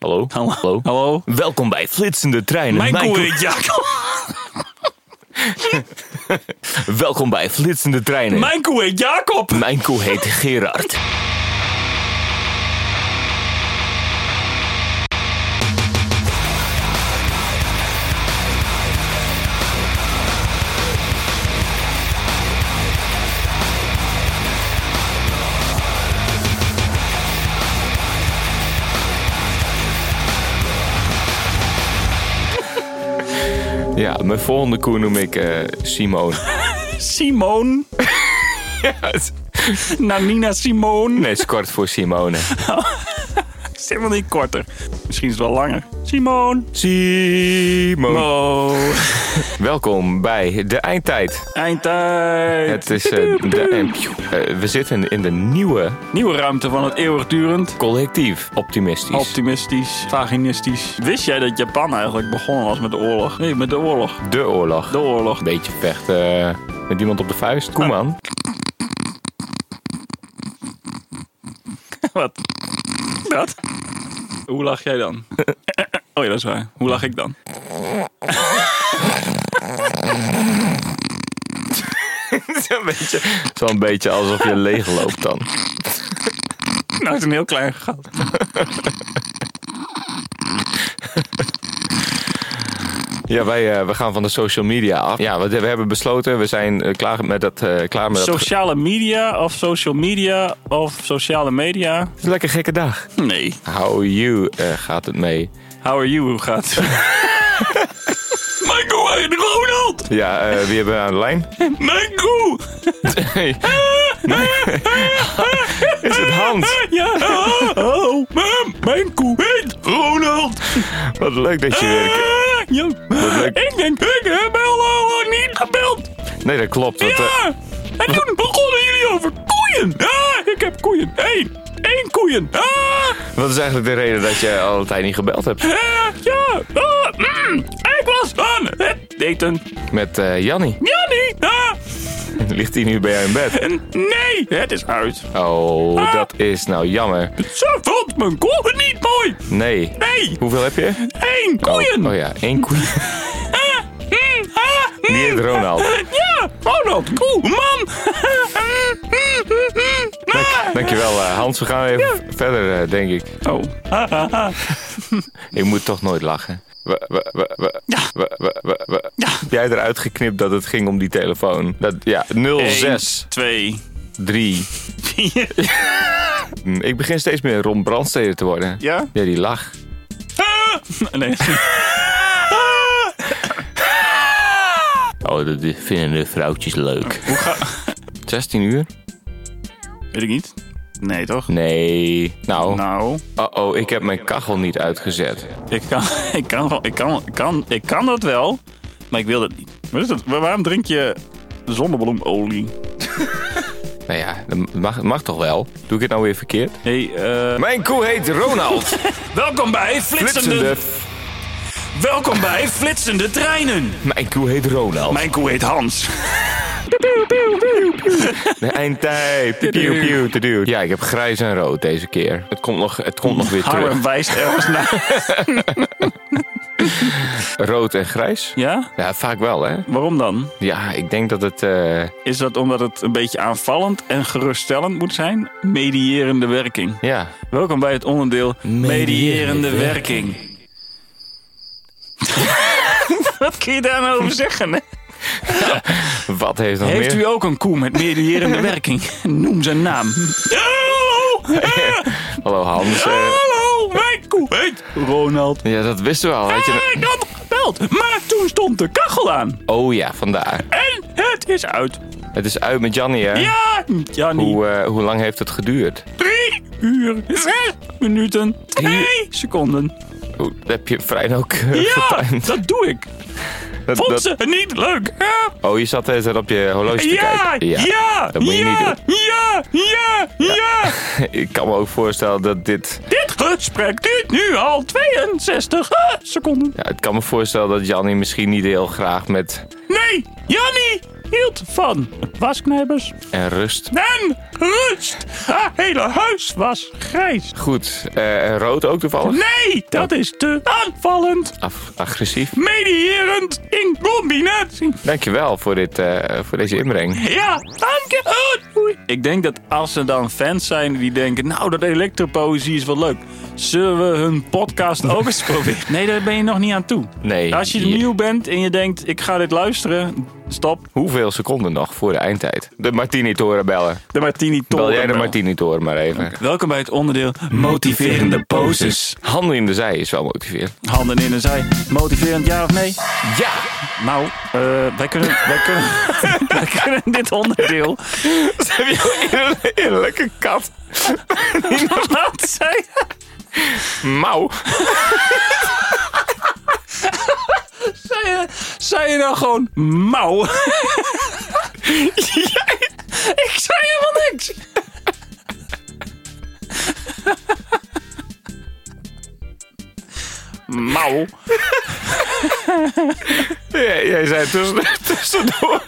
Hallo? Hallo? Hallo? Hallo? Welkom bij Flitsende Treinen. Mijn Mijn koe, Jacob. koe- Welkom bij Flitsende Treinen. Mijn koe heet Jacob. Mijn koe heet Gerard. Ja, mijn volgende koe noem ik eh Simone. Simon. Nanina Simon. Nee, het is kort voor Simone. Het is helemaal niet korter. Misschien is het wel langer. Simon. Simone. Oh. Welkom bij de eindtijd. Eindtijd. Het is, eh, de, eh, pjoe, eh, we zitten in de nieuwe Nieuwe ruimte van het eeuwigdurend. collectief. Optimistisch. Optimistisch. Vaginistisch. Wist jij dat Japan eigenlijk begonnen was met de oorlog? Nee, met de oorlog. de Ah. oorlog. De oorlog. Een beetje vechten eh, met iemand op de vuist. Koeman. Wat? Wat? Hoe lag jij dan? Oh ja, dat is waar. Hoe lag ik dan? Zo'n beetje. Zo'n beetje alsof je leeg loopt dan. Nou, het is een heel klein gat. Ja, wij eh, we gaan van de social media af. Ja, we, we hebben besloten, we zijn eh, klaar met dat... eh, klaar met dat Sociale media of social media of sociale media? Het is een lekker gekke dag. Nee. How you eh, gaat het mee? How are you? Hoe gaat het? Mijn koe heet Ronald! Ja, eh, wie hebben we aan de lijn? Mijn koe! Nee. Is het Hans? Ja, oh, oh. Mam, mijn koe heet Ronald! Oh, Wat leuk dat je weer... Ah, ja. leuk. Ik denk, ik heb al lang niet gebeld! Nee, dat klopt. Dat, eh, Ja! En toen begonnen jullie over koeien! Ah, ik heb koeien! Eén! Eén koeien! Ah! wat is eigenlijk de reden dat je al een tijd niet gebeld hebt? Eh, ja, ah, mm, ik was aan het daten. Met eh Jannie. Jannie, ah, Ligt hij nu bij jou in bed? en nee, het is uit. Ah! Oh, dat is nou jammer. Ze vond mijn koeien niet mooi. Nee. Nee, Hoeveel heb je? één Oh, koeien. Oh ja, één koeien. Ah, mm, ah, mm, Die heet Ronald. Ja, Ronald, koe, man. Mm, mm, mm, mm. Ah. Dankjewel eh, Hans, we gaan even verder eh, denk ik. Oh. Ah, ah, ah. Ik moet toch nooit lachen. We- we- we- we- we- we- we- we- Heb Jij eruit geknipt dat het ging om die telefoon. Dat, ja, 06 Eén, twee, 3. vier. Hm, Ik begin steeds meer Ron Brandsteder te worden. Ja? Ja, die lach. Ah, nee. Oh, dat vinden de vrouwtjes leuk. 16 uur? Weet ik niet. Nee, toch? Nee. Nou, Nou, oh oh, ik heb mijn kachel niet uitgezet. ik kan, ik kan, wel- ik kan, ik kan, ik kan dat wel, maar ik wil dat niet. Wat is dat? Wa- Waarom drink je zonnebloemolie? Nou ja, dat mag, mag toch wel? Doe ik het nou weer verkeerd? Hey, eh Mijn koe heet Ronald. welkom bij Flitsende. Welkom bij flitsende treinen. Mijn koe heet Ronald. Mijn koe heet Hans. De eindtijd. Piu, piu, piu, te duw. Ja, ik heb grijs en rood deze keer. Het komt nog, het komt nog weer terug. Harlem wijst ergens naar. Rood en grijs? Ja? Ja, vaak wel, hè? Waarom dan? Ja, ik denk dat het... eh, Is dat omdat het een beetje aanvallend en geruststellend moet zijn? Medierende werking. ja. Welkom bij het onderdeel Medierende Werking. Wat kun je daar nou over zeggen? Hè? Wat heeft nog Heeft meer? u ook een koe met medierende werking? Noem zijn naam. Hallo! Hallo, Hans. eh. Ah! Hallo! Mijn koe heet Ronald. ja, dat wisten we al. Had je... Ik had gebeld, maar toen stond de kachel aan. Oh ja, vandaar. En het is uit. Het is uit met Jannie, hè? Ja, Jannie. Hoe, eh, hoe lang heeft het geduurd? Drie uur, zes minuten, twee seconden. Oeh, dat heb je vrij ook eh, Ja, getimed. dat doe ik. Dat- Vond dat- ze niet leuk? Ja. Oh, je zat de hele tijd op je horloge te Ja, kijken. ja, ja, Dat moet je ja, niet ja, ja, doen. Ik kan me ook voorstellen dat dit... Dit gesprek duurt nu al 62 seconden. Ja, ik kan me voorstellen dat Jannie misschien niet heel graag met... Nee, Jannie, hield van wasknijpers En rust. en rust. Haar hele huis was grijs. Goed. Eh, rood ook toevallig. Nee, dat is te aanvallend, Af, agressief. medierend, in combinatie. Dankjewel voor, dit, eh, voor deze inbreng. Ja, dank je. Oh, doei. Ik denk dat als er dan fans zijn die denken... nou, dat elektropoëzie is wel leuk. Zullen we hun podcast ook eens proberen? Nee, daar ben je nog niet aan toe. Nee. Als je hier- nieuw bent en je denkt, ik ga dit luisteren... Stop. Hoeveel seconden nog voor de eindtijd? De Martini-toren bellen. De Martini Toren. Bel jij de wel. Martini-toren maar even. Welkom bij het onderdeel Motiverende Poses. Handen in de zij is wel motiverend. Handen in en zij. Motiverend ja of nee? Ja! Nou, eh, wij, kunnen, wij, kunnen, wij kunnen dit onderdeel... Ze hebben jou een eerlijke kat. Wat zei Mauw. Zei je, zei je nou gewoon mouw? Ik zei helemaal niks. Mouw. Ja, jij zei tussen, tussendoor.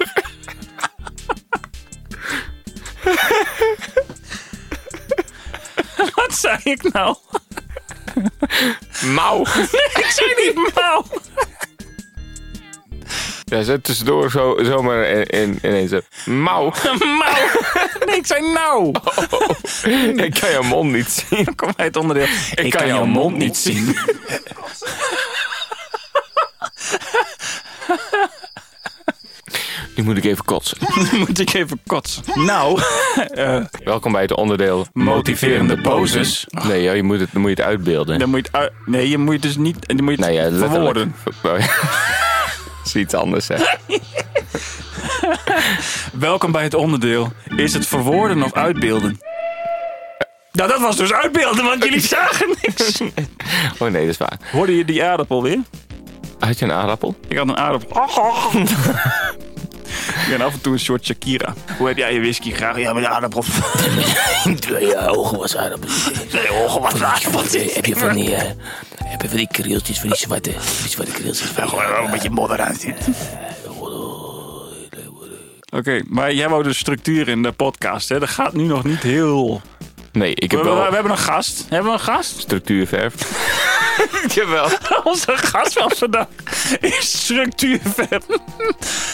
Wat zei ik nou? Mauw. Ik zei niet mouw. Jij zei tussendoor zo, zomaar in, in, ineens. eh, Mauw. Mouw. Nee, ik zei nou. Ik kan je mond niet zien. Dan komt bij het onderdeel. Ik, kan jouw mond niet zien. Nu moet ik even kotsen. Moet ik even kotsen. Nou. Welkom bij het onderdeel Motiverende poses. Nee, joh, je moet het, dan moet je het uitbeelden. Dan moet je het uit- nee, je moet het dus niet... Je moet het nee, ja, letterlijk. verwoorden. Oh, ja. Dat is iets anders, hè. Welkom bij het onderdeel. Is het verwoorden of uitbeelden? Nou, dat was dus uitbeelden, want jullie zagen niks. Oh nee, dat is waar. Hoorde je die aardappel weer? Had je een aardappel? Ik had een aardappel. Ik ben af en toe een soort Shakira. Hoe heb jij je whisky graag? Ja, met een aardappel. Ja, ogen was aardappel. Nee, oh, wat aardappel. Heb je van die, eh, heb je van die krieltjes, van die zwarte, van die zwarte krieltjes? Van die- Gewoon een beetje modder aan zit. Oké, maar jij wou de structuur in de podcast, hè? Dat gaat nu nog niet heel... Nee, ik We, heb we- we wel hebben een gast. Hebben we een gast? structuurverf. ik heb wel. Onze gast van vandaag is structuurverf.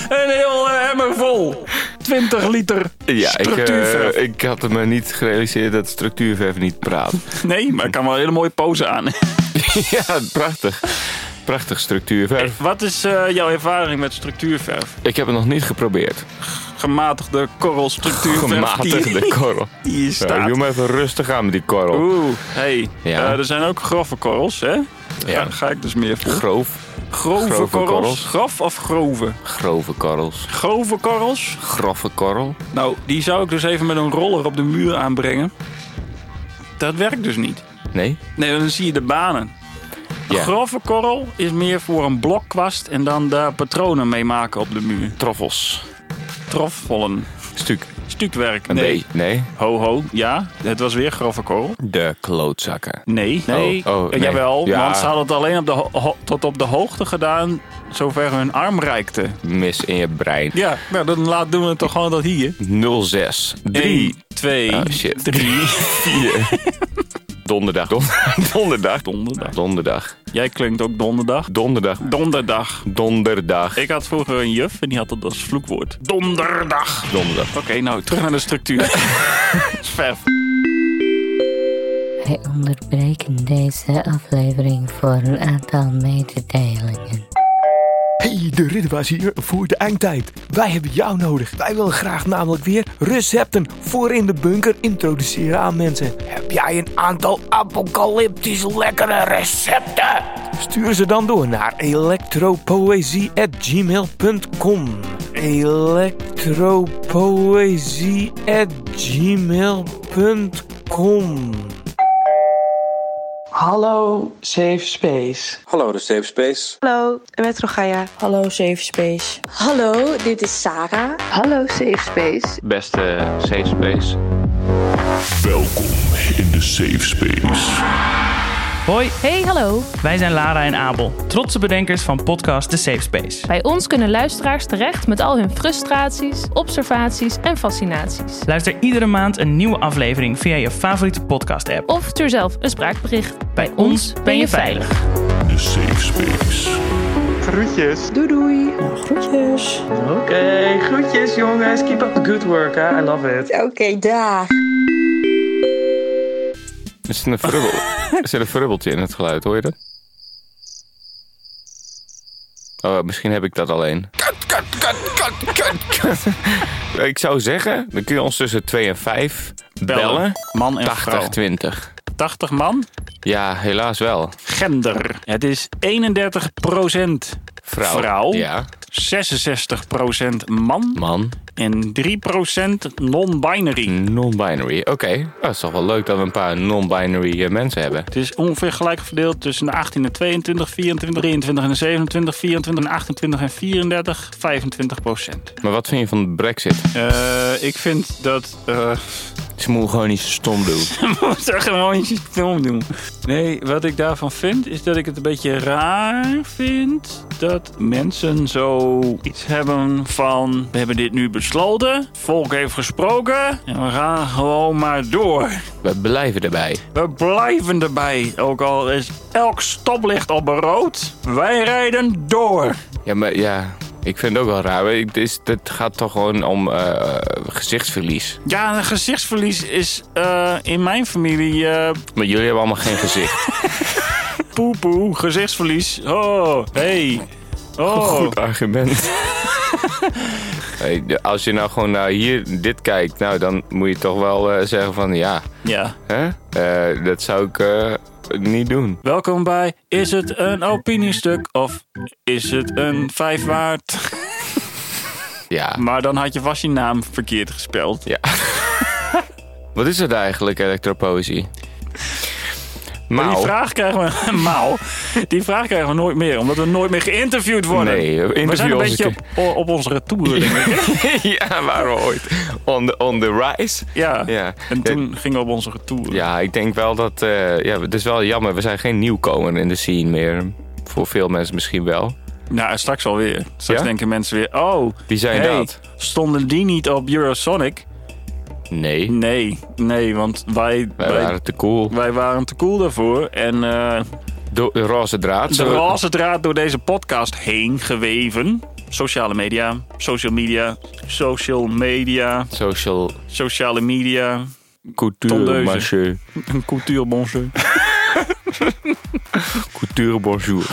Een heel eh, emmer vol. 20 liter Ja, ik, structuurverf. eh, ik had me niet gerealiseerd dat structuurverf niet praat. Nee, maar ik kan wel een hele mooie pose aan. ja, prachtig. Prachtig structuurverf. Wat is eh, jouw ervaring met structuurverf? Ik heb het nog niet geprobeerd. Gematigde korrel structuurverf die- Gematigde korrel. die, hier Ja, staat. doe maar even rustig aan met die korrel. Oeh, hey. Ja. Eh, er zijn ook grove korrels, hè? Ja. Daar ga ik dus meer voor. Groof. grove, grove korrels. korrels. Graf of grove? Grove korrels. Grove korrels. Grove korrel. Nou, die zou ik dus even met een roller op de muur aanbrengen. Dat werkt dus niet. Nee? Nee, dan zie je de banen. Ja. Grove korrel is meer voor een blokkwast en dan daar patronen mee maken op de muur. Troffels. Trofvollen. Stuk. Stukwerk. Een Nee. B. Nee? Ho, ho. Ja, het was weer grove korrel. De klootzakken. Nee. Nee. Oh, oh, nee. Jawel, Ja. want ze hadden het alleen op de ho- ho- tot op de hoogte gedaan, zover hun arm reikte. Mis in je brein. Ja, nou dan laat, doen we het toch gewoon dat hier. 06. 3. 3, 2, Oh, shit. 3. 4. Donderdag. Don- Donderdag. Donderdag. Donderdag. Jij klinkt ook donderdag. Donderdag. Donderdag. Donderdag. Ik had vroeger een juf en die had dat als vloekwoord. Donderdag. Donderdag. Oké, nou, terug naar de structuur. Verf. Wij onderbreken deze aflevering voor een aantal mededelingen. Hey, de Ridderbaas hier voor de eindtijd. Wij hebben jou nodig. Wij willen graag namelijk weer recepten voor in de bunker introduceren aan mensen. Heb jij een aantal apocalyptisch lekkere recepten? Stuur ze dan door naar electropoëzie@gmail.com. electropoëzie@gmail.com. Hallo Safe Space. Hallo de Safe Space. Hallo, met Rogaya. Hallo Safe Space. Hallo, dit is Sarah. Hallo Safe Space. Beste safe space. Welkom in de safe space. Hoi, Hey, hallo. wij zijn Lara en Abel, trotse bedenkers van podcast The Safe Space. Bij ons kunnen luisteraars terecht met al hun frustraties, observaties en fascinaties. Luister iedere maand een nieuwe aflevering via je favoriete podcast-app. Of stuur zelf een spraakbericht. Bij ons ben je veilig. Doei doei. Nou, groetjes. Oké, groetjes jongens. Keep up the good work, hè. I love it. Oké, daar. Er zit een, verrubbel, er zit een verrubbeltje in het geluid, hoor je dat? Oh, misschien heb ik dat alleen. Kut, kut, kut, kut, kut, kut. Ik zou zeggen, dan kun je ons tussen 2 en 5 bellen. Man en vrouw. 80, 20. 80 man. Ja, helaas wel. Gender. Het is 31% Vrouw. Vrouw? Ja. 66% man Man. en 3% non-binary. Non-binary. Oké. Oh, het is toch wel leuk dat we een paar non-binary eh, mensen hebben. Het is ongeveer gelijk verdeeld tussen de 18 en 22, 24, 23 en 27, 24 en 28 en 34, 25 procent. Maar wat vind je van de brexit? Eh, ik vind dat... eh, Ze moeten gewoon niet zo stom doen. moet er gewoon iets stom doen. Nee, wat ik daarvan vind, is dat ik het een beetje raar vind dat mensen zo iets hebben van... We hebben dit nu besloten, volk heeft gesproken en we gaan gewoon maar door. We blijven erbij. We blijven erbij, ook al is elk stoplicht op rood. Wij rijden door. Ja, maar ja... Ik vind het ook wel raar. Het, is, het gaat toch gewoon om eh, gezichtsverlies. Ja, een gezichtsverlies is eh, in mijn familie eh Maar jullie hebben allemaal geen gezicht. poepoe, gezichtsverlies. Oh, hey. Oh, argument. Hey, de- als je nou gewoon naar hier dit kijkt, nou, dan moet je toch wel eh, zeggen van ja, ja. hè? Eh, dat zou ik eh, niet doen. Welkom bij Is het een opiniestuk of is het een vijf waard? Ja. Maar dan had je vast je naam verkeerd gespeld. Ja. Wat is het eigenlijk, elektropoëzie? Maar die Mauw. vraag krijgen we... Mauw. Die vraag krijgen we nooit meer, omdat we nooit meer geïnterviewd worden. Nee, interview we zijn een ons beetje een op, op, onze retour, denk ik. ja, waren we ooit. On the, on the rise? Ja. Ja. En toen gingen we op onze retour. Ja, ik denk wel dat... eh, ja, het is wel jammer. We zijn geen nieuwkomer in de scene meer. Voor veel mensen misschien wel. Nou, straks alweer. Straks Ja? denken mensen weer... Oh, Wie zijn hey, dat? stonden die niet op Eurosonic? Nee, Nee, nee, want wij... wij waren te cool. wij waren te cool daarvoor. En eh, Do- de roze draad. de zo- roze draad door deze podcast heen geweven. Sociale media, social media, social media, Social sociale media. couture, Tondeuze. monsieur. Een cultuur bonjour. Couture, bonjour.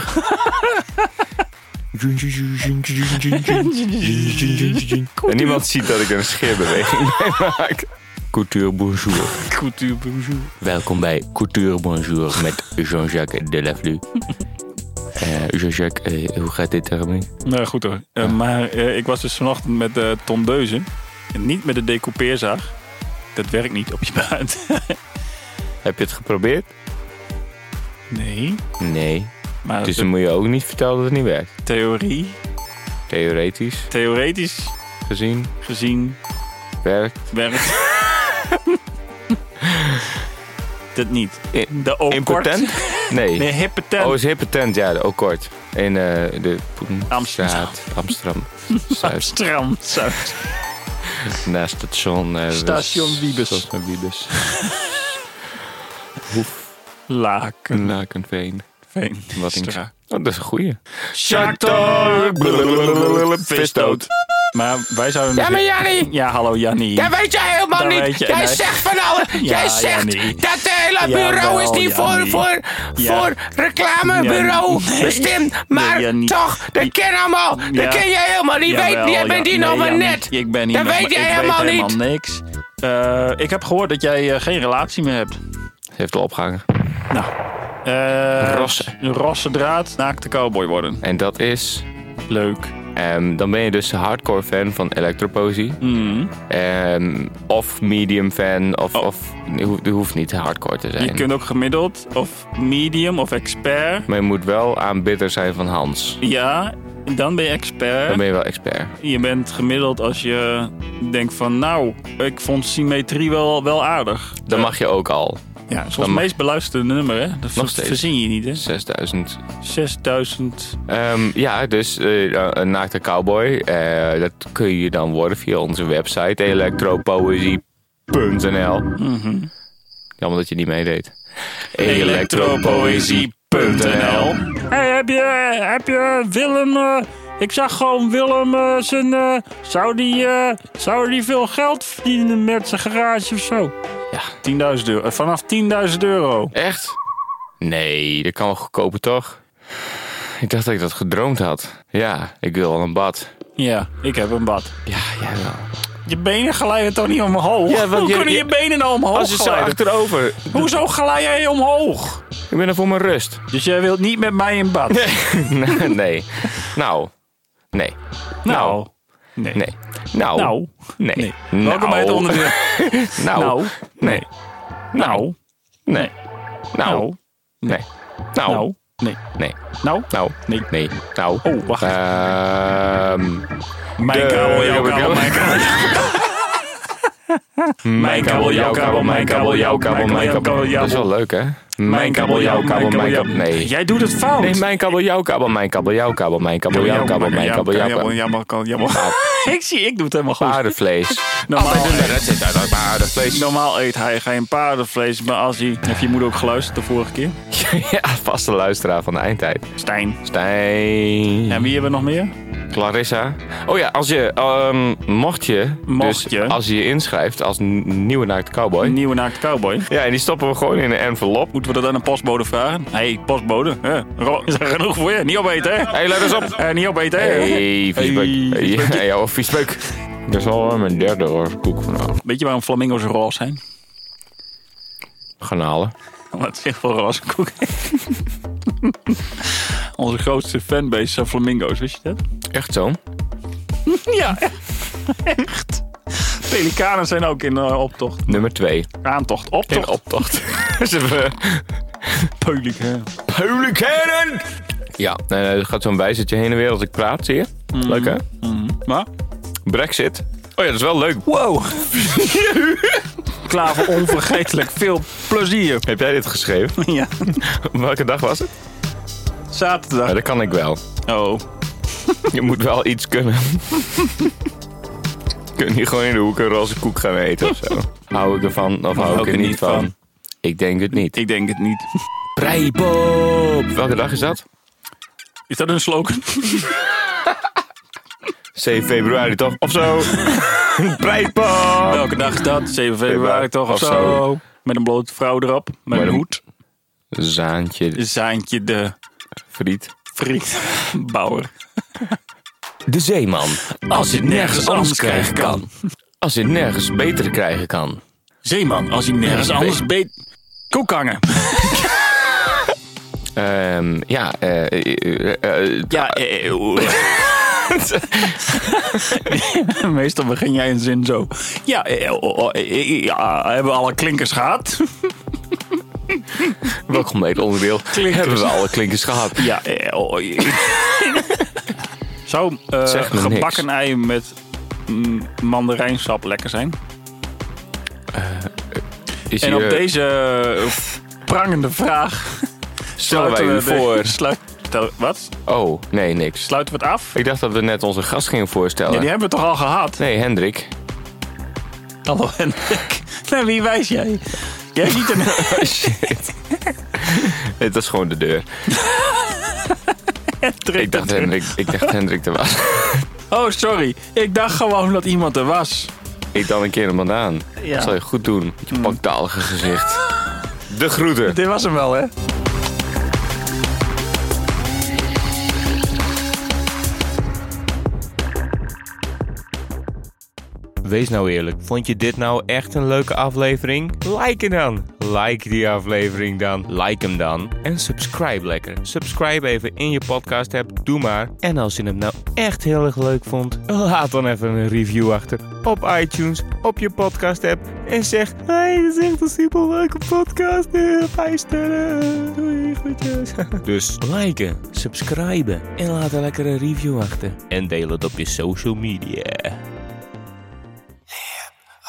en niemand ziet dat ik een scheerbeweging mee maak. Couture, bonjour. Cultuur bonjour. Welkom bij Couture Bonjour met Jean-Jacques Delavlu. Eh Jean-Jacques, eh, hoe gaat dit ermee? Nou goed hoor. Eh, maar eh, ik was dus vanochtend met de tondeuze. En niet met de decoupeerzaag. Dat werkt niet op je buit. Heb je het geprobeerd? nee. Nou, Nee. Maar Dus de dan moet je ook niet vertellen dat het niet werkt. theorie, Theoretisch theoretisch gezien gezien, werkt. werkt. Dat niet. In- De ook Impotent? Nee. Nee, hippotent. Oh, is hippotent, ja, ook kort. In eh, de Amsterdam. Poenstraat, Amsterdam. Zuid, Amsterdam. Zuid. naast het station. eh, Station Wiebes. Station Wiebes. Laken. Lakenveen. Veen. Wat een- Stra. Oh, dat is een goeie. Sharktalk. Visdood. Maar wij zouden... Ja, maar Jannie. Ja, hallo Jannie. Ja, Weet jij helemaal Dat niet? weet je, jij nee. zegt van alle. jij zegt Jannie. dat het hele Jawel, bureau is niet voor, Jannie. voor, Ja. voor reclamebureau Jannie. Nee. bestemd. Maar Jannie. toch, dat ken allemaal. Ja. Dat ken jij helemaal niet. weet, jij bent hier nog maar net. Ik ben hier Dat nog weet maar- jij ik helemaal weet niet. helemaal niks. Eh, ik heb gehoord dat jij eh, geen relatie meer hebt. Ze heeft al opgehangen. Nou. eh, Rossen. Rosse draad, naakte cowboy worden. En dat is... Leuk. ehm, dan ben je dus hardcore fan van elektropoëzie. Mm. Ehm, of medium fan. Of, of je hoeft, je hoeft niet hardcore te zijn. Oh. Je kunt ook gemiddeld of medium of expert. Maar je moet wel aanbidder zijn van Hans. Ja, dan ben je expert. Dan ben je wel expert. Je bent gemiddeld als je denkt van nou, ik vond symmetrie wel, wel aardig. Dan mag je ook al. Ja, het is Dan ons mag- meest beluisterde nummer, hè? Dat ver- steeds. verzin je niet, hè? 6000. 6000. Ehm, ja, dus eh, een naakte cowboy. eh, dat kun je dan worden via onze website elektropoëzie.nl. Mhm. Jammer dat je niet meedeed. Elektropoëzie.nl Hey, heb je, heb je Willem... eh, ik zag gewoon Willem eh, zijn... eh, zou, die, eh, zou die veel geld verdienen met zijn garage of zo? Ja. 10.000 euro. Eh, Vanaf 10.000 euro. Echt? Nee, dat kan wel goedkoper toch? Ik dacht dat ik dat gedroomd had. Ja, ik wil al een bad. Ja, ik heb een bad. Ja, Ah, jij wel. Je benen glijden toch niet omhoog? Ja, want Hoe je- kunnen je, je- benen nou omhoog Oh, Als je zo glijden? achterover. Hoezo glij jij omhoog? Ik ben er voor mijn rust. Dus jij wilt niet met mij in bad? Nee. nee. Nou. Nee. Nou. Nee. Nee. Nou. Nou. Nee. Nee. Nou. Welkom bij het onderdeel. Nou. Nou. Nee. Nou. Nee. Nou. Nou. Nee. Nou. Nou. Nee. Nee. Nou. Nou. Nee. Nee. Nou. Oh, wacht. Ehm, Mijn kabel, jouw kabel, mijn kabel. Mijn kabel, jouw kabel, mijn kabel, jouw kabel, mijn kabel, jouw Dat is wel kabel. leuk, hè? Mijn kabel, jouw kabel, mijn kabel. Nee. Jij doet het fout. Nee, mijn kabel, jouw kabel, mijn kabel, jouw kabel, mijn kabel, jouw kabel, mijn kabel, jouw kabel. Ah, Jammer, kabel, jammer. Ik zie, ik doe het helemaal goed. Paardenvlees. Normaal, Dat zit uit dat paardenvlees. normaal eet hij geen paardenvlees, maar als hij... Heeft je moeder ook geluisterd de vorige keer? Ja, vaste luisteraar van de eindtijd. Stijn. Stijn. En wie hebben we nog meer? Clarissa. Oh ja, als je, ehm, mocht je, Mocht dus je. als je je inschrijft als n- nieuwe naakte cowboy. Een nieuwe naakte cowboy. Ja, en die stoppen we gewoon in een envelop. Moeten we dat aan een postbode vragen? Hé, hey, postbode. hè, Ro- is er genoeg voor je? Niet opeten, hè? Hé, hey, let eens op. Eh, niet opeten, hè? Hey, viesbeuk. Hey, Hey, viesbeuk. ja, joh, viesbeuk. Dat is al mijn derde roze koek vanavond. Weet je waarom flamingo's roze zijn? Gaan halen. Wat zich voor roze koek. Onze grootste fanbase zijn flamingo's, wist je dat? Echt zo? Ja, echt. Pelikanen zijn ook in eh, optocht. Nummer twee. Aantocht, optocht. In optocht. Ze hebben eh, Pelikaan. Publicanen! Ja, eh, er gaat zo'n wijzertje heen en weer als ik praat, zie je? Leuk, hè? Maar, Brexit. Oh ja, dat is wel leuk. wow. Klaar voor onvergetelijk veel plezier. Heb jij dit geschreven? Ja, Welke dag was het? zaterdag. Ja, dat kan ik wel. Oh, Je moet wel iets kunnen. Kun je niet gewoon in de hoek een roze koek gaan eten of zo? Hou ik ervan of hou ik er niet van? Ik denk het niet. ik denk het niet. Prijpop! Welke dag is dat? Is dat een slogan? 7 februari toch? Of zo? Prijpop! Welke dag is dat? 7 februari toch of zo? Met een blote vrouw erop. Met Met een een- hoed. Zaantje Zaantje de friet. Friet Bauer. De zeeman. Als je het nergens anders krijgen kan. Als je het nergens beter krijgen kan. Zeeman, als je nergens anders beet... Koekhangen. Ehm, ja, eh, eh, eh, eh, Ja, eh, eh, oeh. Meestal begin jij een zin zo. Ja, eh, eh, oh, oh, eh, eh, ja, hebben we alle klinkers gehad? welkom bij het onderdeel. Klinkers. Hebben we alle klinkers gehad? Ja, eh, oh, eh. Zou eh, Zeg me niks. gebakken ei met mm, mandarijnsap lekker zijn? Is En hier, op deze eh, prangende vraag stellen wij u sluiten we de- voor. Sluit, tel- wat? Oh, nee, niks. Sluiten we het af? Ik dacht dat we net onze gast gingen Ja, voorstellen. die hebben we toch al gehad? Nee, Hendrik. Hallo Hendrik. Naar Nou, wie wijs jij? Jij ziet een... Oh, Nee, dat is gewoon de deur. Hendrik. Ik dacht Hendrik, ik dacht Hendrik er was. Oh, sorry. Ik dacht gewoon dat iemand er was. Ik dan een keer hem aan. Ja. Dat zal je goed doen. Met je paktalige gezicht. De groeten. Dit was hem wel, hè? Wees nou eerlijk, vond je dit nou echt een leuke aflevering? Like hem dan! Like die aflevering dan, like hem dan. En subscribe lekker. Subscribe even in je podcast app, doe maar. En als je hem nou echt heel erg leuk vond, laat dan even een review achter. Op iTunes, op je podcast app. En zeg, hey, dit is echt een super leuke podcast. Eh, Vijf sterren. Doei, groetjes. Dus liken, subscriben en laat een lekkere review achter. En deel het op je social media.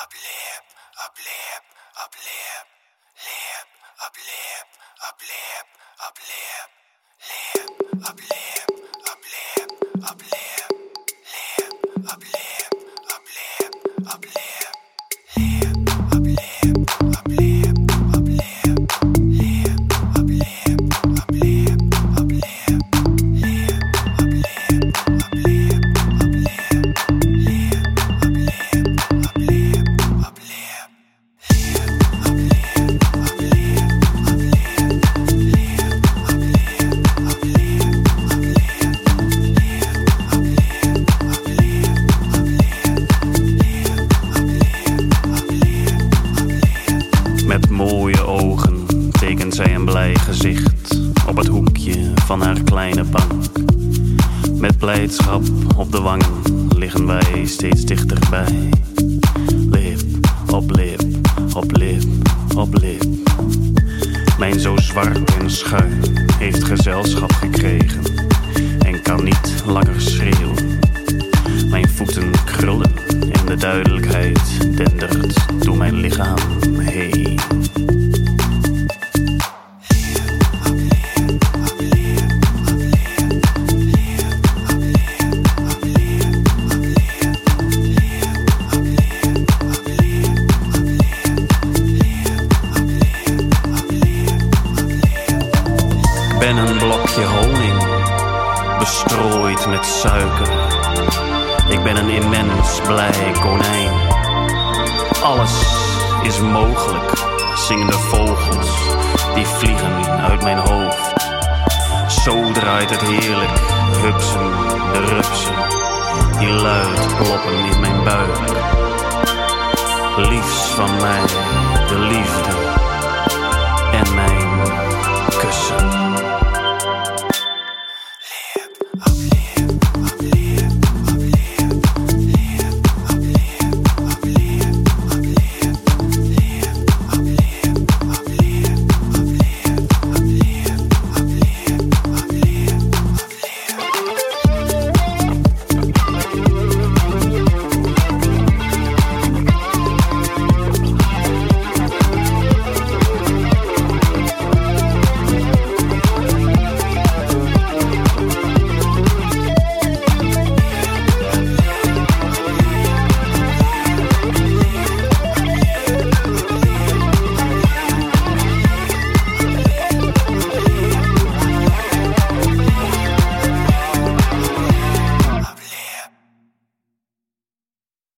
Up lip, up lip, up lip, lip. Met mooie ogen tekent zij een blij gezicht op het hoekje van haar kleine bank. Met blijdschap op de wangen liggen wij steeds dichterbij. Lip op lip, op lip, op lip. Mijn zo zwart en schuin heeft gezelschap gekregen en kan niet langer schreeuwen. Mijn voeten krullen en de duidelijkheid dendert door mijn lichaam heen. Ik ben een blokje honing, bestrooid met suiker. Ik ben een immens blij konijn. Alles is mogelijk, zingen de vogels die vliegen uit mijn hoofd. Zo draait het heerlijk, hupsen de rupsen, die luid kloppen in mijn buik. Liefst van mij, de liefde